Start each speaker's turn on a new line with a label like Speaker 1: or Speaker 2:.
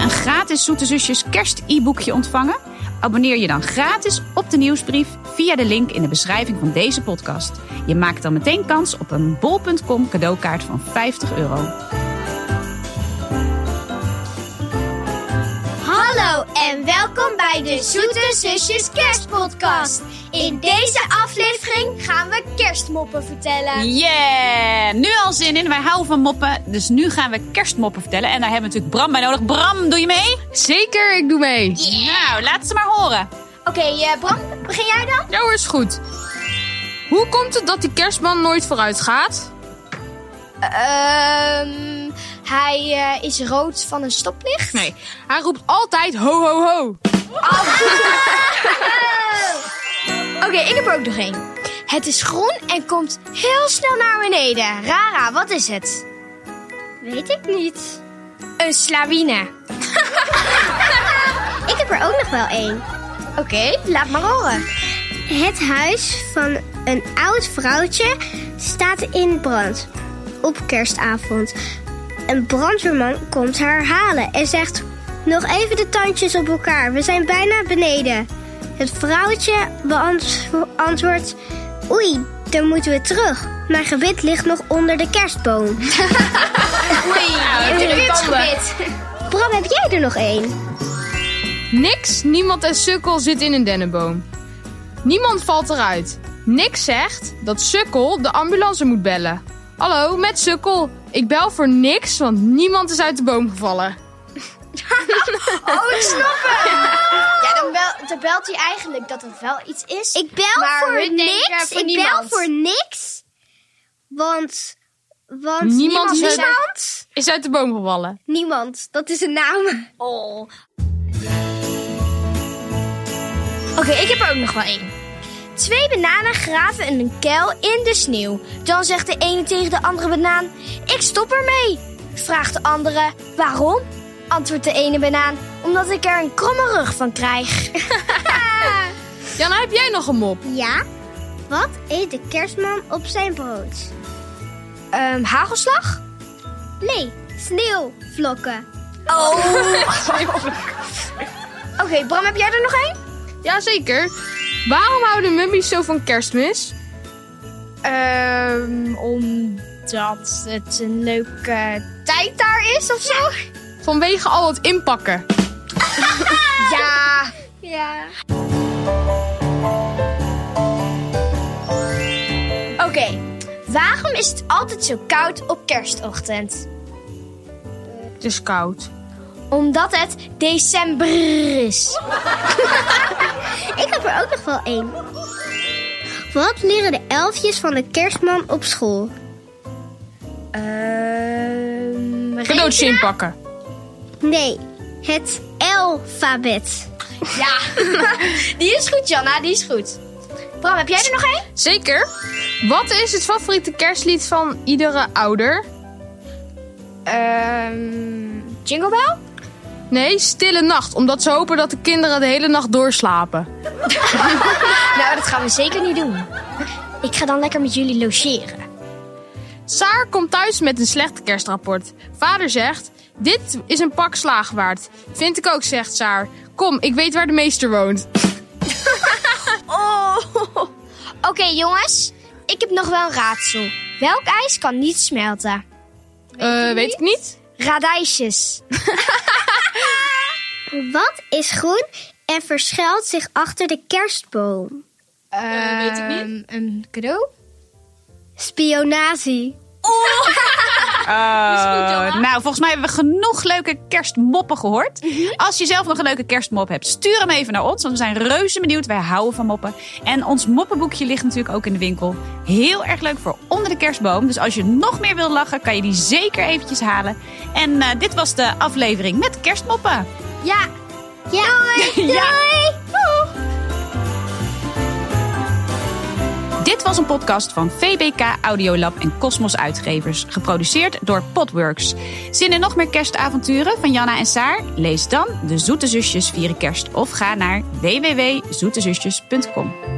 Speaker 1: een gratis Zoete Zusjes kerst-e-boekje ontvangen? Abonneer je dan gratis op de nieuwsbrief via de link in de beschrijving van deze podcast. Je maakt dan meteen kans op een bol.com cadeaukaart van 50 euro.
Speaker 2: Hallo en welkom bij de Zoete Zusjes Kerstpodcast. In deze aflevering gaan we kerstmoppen vertellen.
Speaker 1: Yeah! Nu al zin in. Wij houden van moppen. Dus nu gaan we kerstmoppen vertellen. En daar hebben we natuurlijk Bram bij nodig. Bram, doe je mee?
Speaker 3: Zeker, ik doe mee.
Speaker 1: Nou, laat ze maar horen.
Speaker 2: Oké, eh, Bram, begin jij dan?
Speaker 3: Nou is goed. Hoe komt het dat die kerstman nooit vooruit gaat?
Speaker 2: Ehm, hij eh, is rood van een stoplicht.
Speaker 3: Nee, hij roept altijd ho ho ho.
Speaker 2: Oké, ik heb er ook nog één. Het is groen en komt heel snel naar beneden. Rara, wat is het? Weet ik niet. Een slawine. ik heb er ook nog wel één. Oké, laat maar horen.
Speaker 4: Het huis van een oud vrouwtje staat in brand op kerstavond. Een brandweerman komt haar halen en zegt: Nog even de tandjes op elkaar, we zijn bijna beneden. Het vrouwtje beantwo- antwoordt: Oei, dan moeten we terug. Mijn gebit ligt nog onder de kerstboom.
Speaker 2: Nou, Een witsgebit.
Speaker 4: Bram, heb jij er nog één?
Speaker 3: Niks, niemand en sukkel zit in een dennenboom. Niemand valt eruit. Niks zegt dat sukkel de ambulance moet bellen. Hallo, met sukkel. Ik bel voor niks, want niemand is uit de boom gevallen.
Speaker 2: Oh, ik snap hem. Ja, dan, bel- dan belt hij eigenlijk dat er wel iets is.
Speaker 4: Ik bel
Speaker 2: Maar we
Speaker 4: voor
Speaker 2: denken
Speaker 4: niks.
Speaker 2: voor
Speaker 4: ik
Speaker 2: niemand.
Speaker 4: bel voor niks. Want. Want
Speaker 3: Niemand
Speaker 4: niemand.
Speaker 3: is uit-
Speaker 4: Niemand.
Speaker 3: Is uit de boom gevallen.
Speaker 4: Niemand. Dat is een naam.
Speaker 2: Oh. Oké, ik heb er ook nog wel één. Twee bananen graven een kuil in de sneeuw. Dan zegt de ene tegen de andere banaan: Ik stop ermee. Vraagt de andere: Waarom? Antwoordt de ene banaan: Omdat ik er een kromme rug van krijg.
Speaker 3: Jana, heb jij nog een mop?
Speaker 4: Ja? Wat eet de kerstman op zijn brood?
Speaker 2: Ehm, hagelslag?
Speaker 4: Nee, sneeuwvlokken.
Speaker 2: Oh. Oké, Bram, heb jij er nog één?
Speaker 3: Jazeker. Waarom houden mummies zo van kerstmis?
Speaker 2: Ehm, omdat het een leuke tijd daar is of zo.
Speaker 3: Vanwege al het inpakken.
Speaker 2: Ja.
Speaker 4: Ja.
Speaker 2: Oké, waarom is het altijd zo koud op kerstochtend?
Speaker 3: Het is koud.
Speaker 2: Omdat het december is.
Speaker 4: Ik heb er ook nog wel één. Wat leren de elfjes van de kerstman op school?
Speaker 2: Ehm
Speaker 3: Cadeautjes inpakken.
Speaker 4: Nee, het alfabet.
Speaker 2: Ja, die is goed, Janna, die is goed. Bram, heb jij er nog één?
Speaker 3: Zeker. Wat is het favoriete kerstlied van iedere ouder?
Speaker 2: Ehm Jingle Bell?
Speaker 3: Nee, Stille Nacht. Omdat ze hopen dat de kinderen de hele nacht doorslapen.
Speaker 2: Nou, dat gaan we zeker niet doen. Ik ga dan lekker met jullie logeren.
Speaker 3: Saar komt thuis met een slecht kerstrapport. Vader zegt, dit is een pak slaag waard. Vind ik ook, zegt Saar. Kom, ik weet waar de meester woont.
Speaker 2: Oh. Oké, jongens. Ik heb nog wel een raadsel. Welk ijs kan niet smelten?
Speaker 3: Eh, weet ik niet.
Speaker 2: Radijsjes.
Speaker 4: Wat is groen en verschuilt zich achter de kerstboom?
Speaker 2: weet ik
Speaker 3: Eh,
Speaker 2: niet. Ehm, Een cadeau?
Speaker 4: Spionazie.
Speaker 1: Eh, nou, volgens mij hebben we genoeg leuke kerstmoppen gehoord. Als je zelf nog een leuke kerstmop hebt, stuur hem even naar ons. Want we zijn reuze benieuwd. Wij houden van moppen. En ons moppenboekje ligt natuurlijk ook in de winkel. Heel erg leuk voor onder de kerstboom. Dus als je nog meer wil lachen, kan je die zeker eventjes halen. En eh, dit was de aflevering met kerstmoppen.
Speaker 2: Ja.
Speaker 4: Ja.
Speaker 1: Ja. Dit was een podcast van VBK Audiolab en Cosmos Uitgevers, geproduceerd door Podworks. Zin in nog meer kerstavonturen van Janna en Saar? Lees dan De Zoete Zusjes Vieren Kerst of ga naar www.zoetezusjes.com.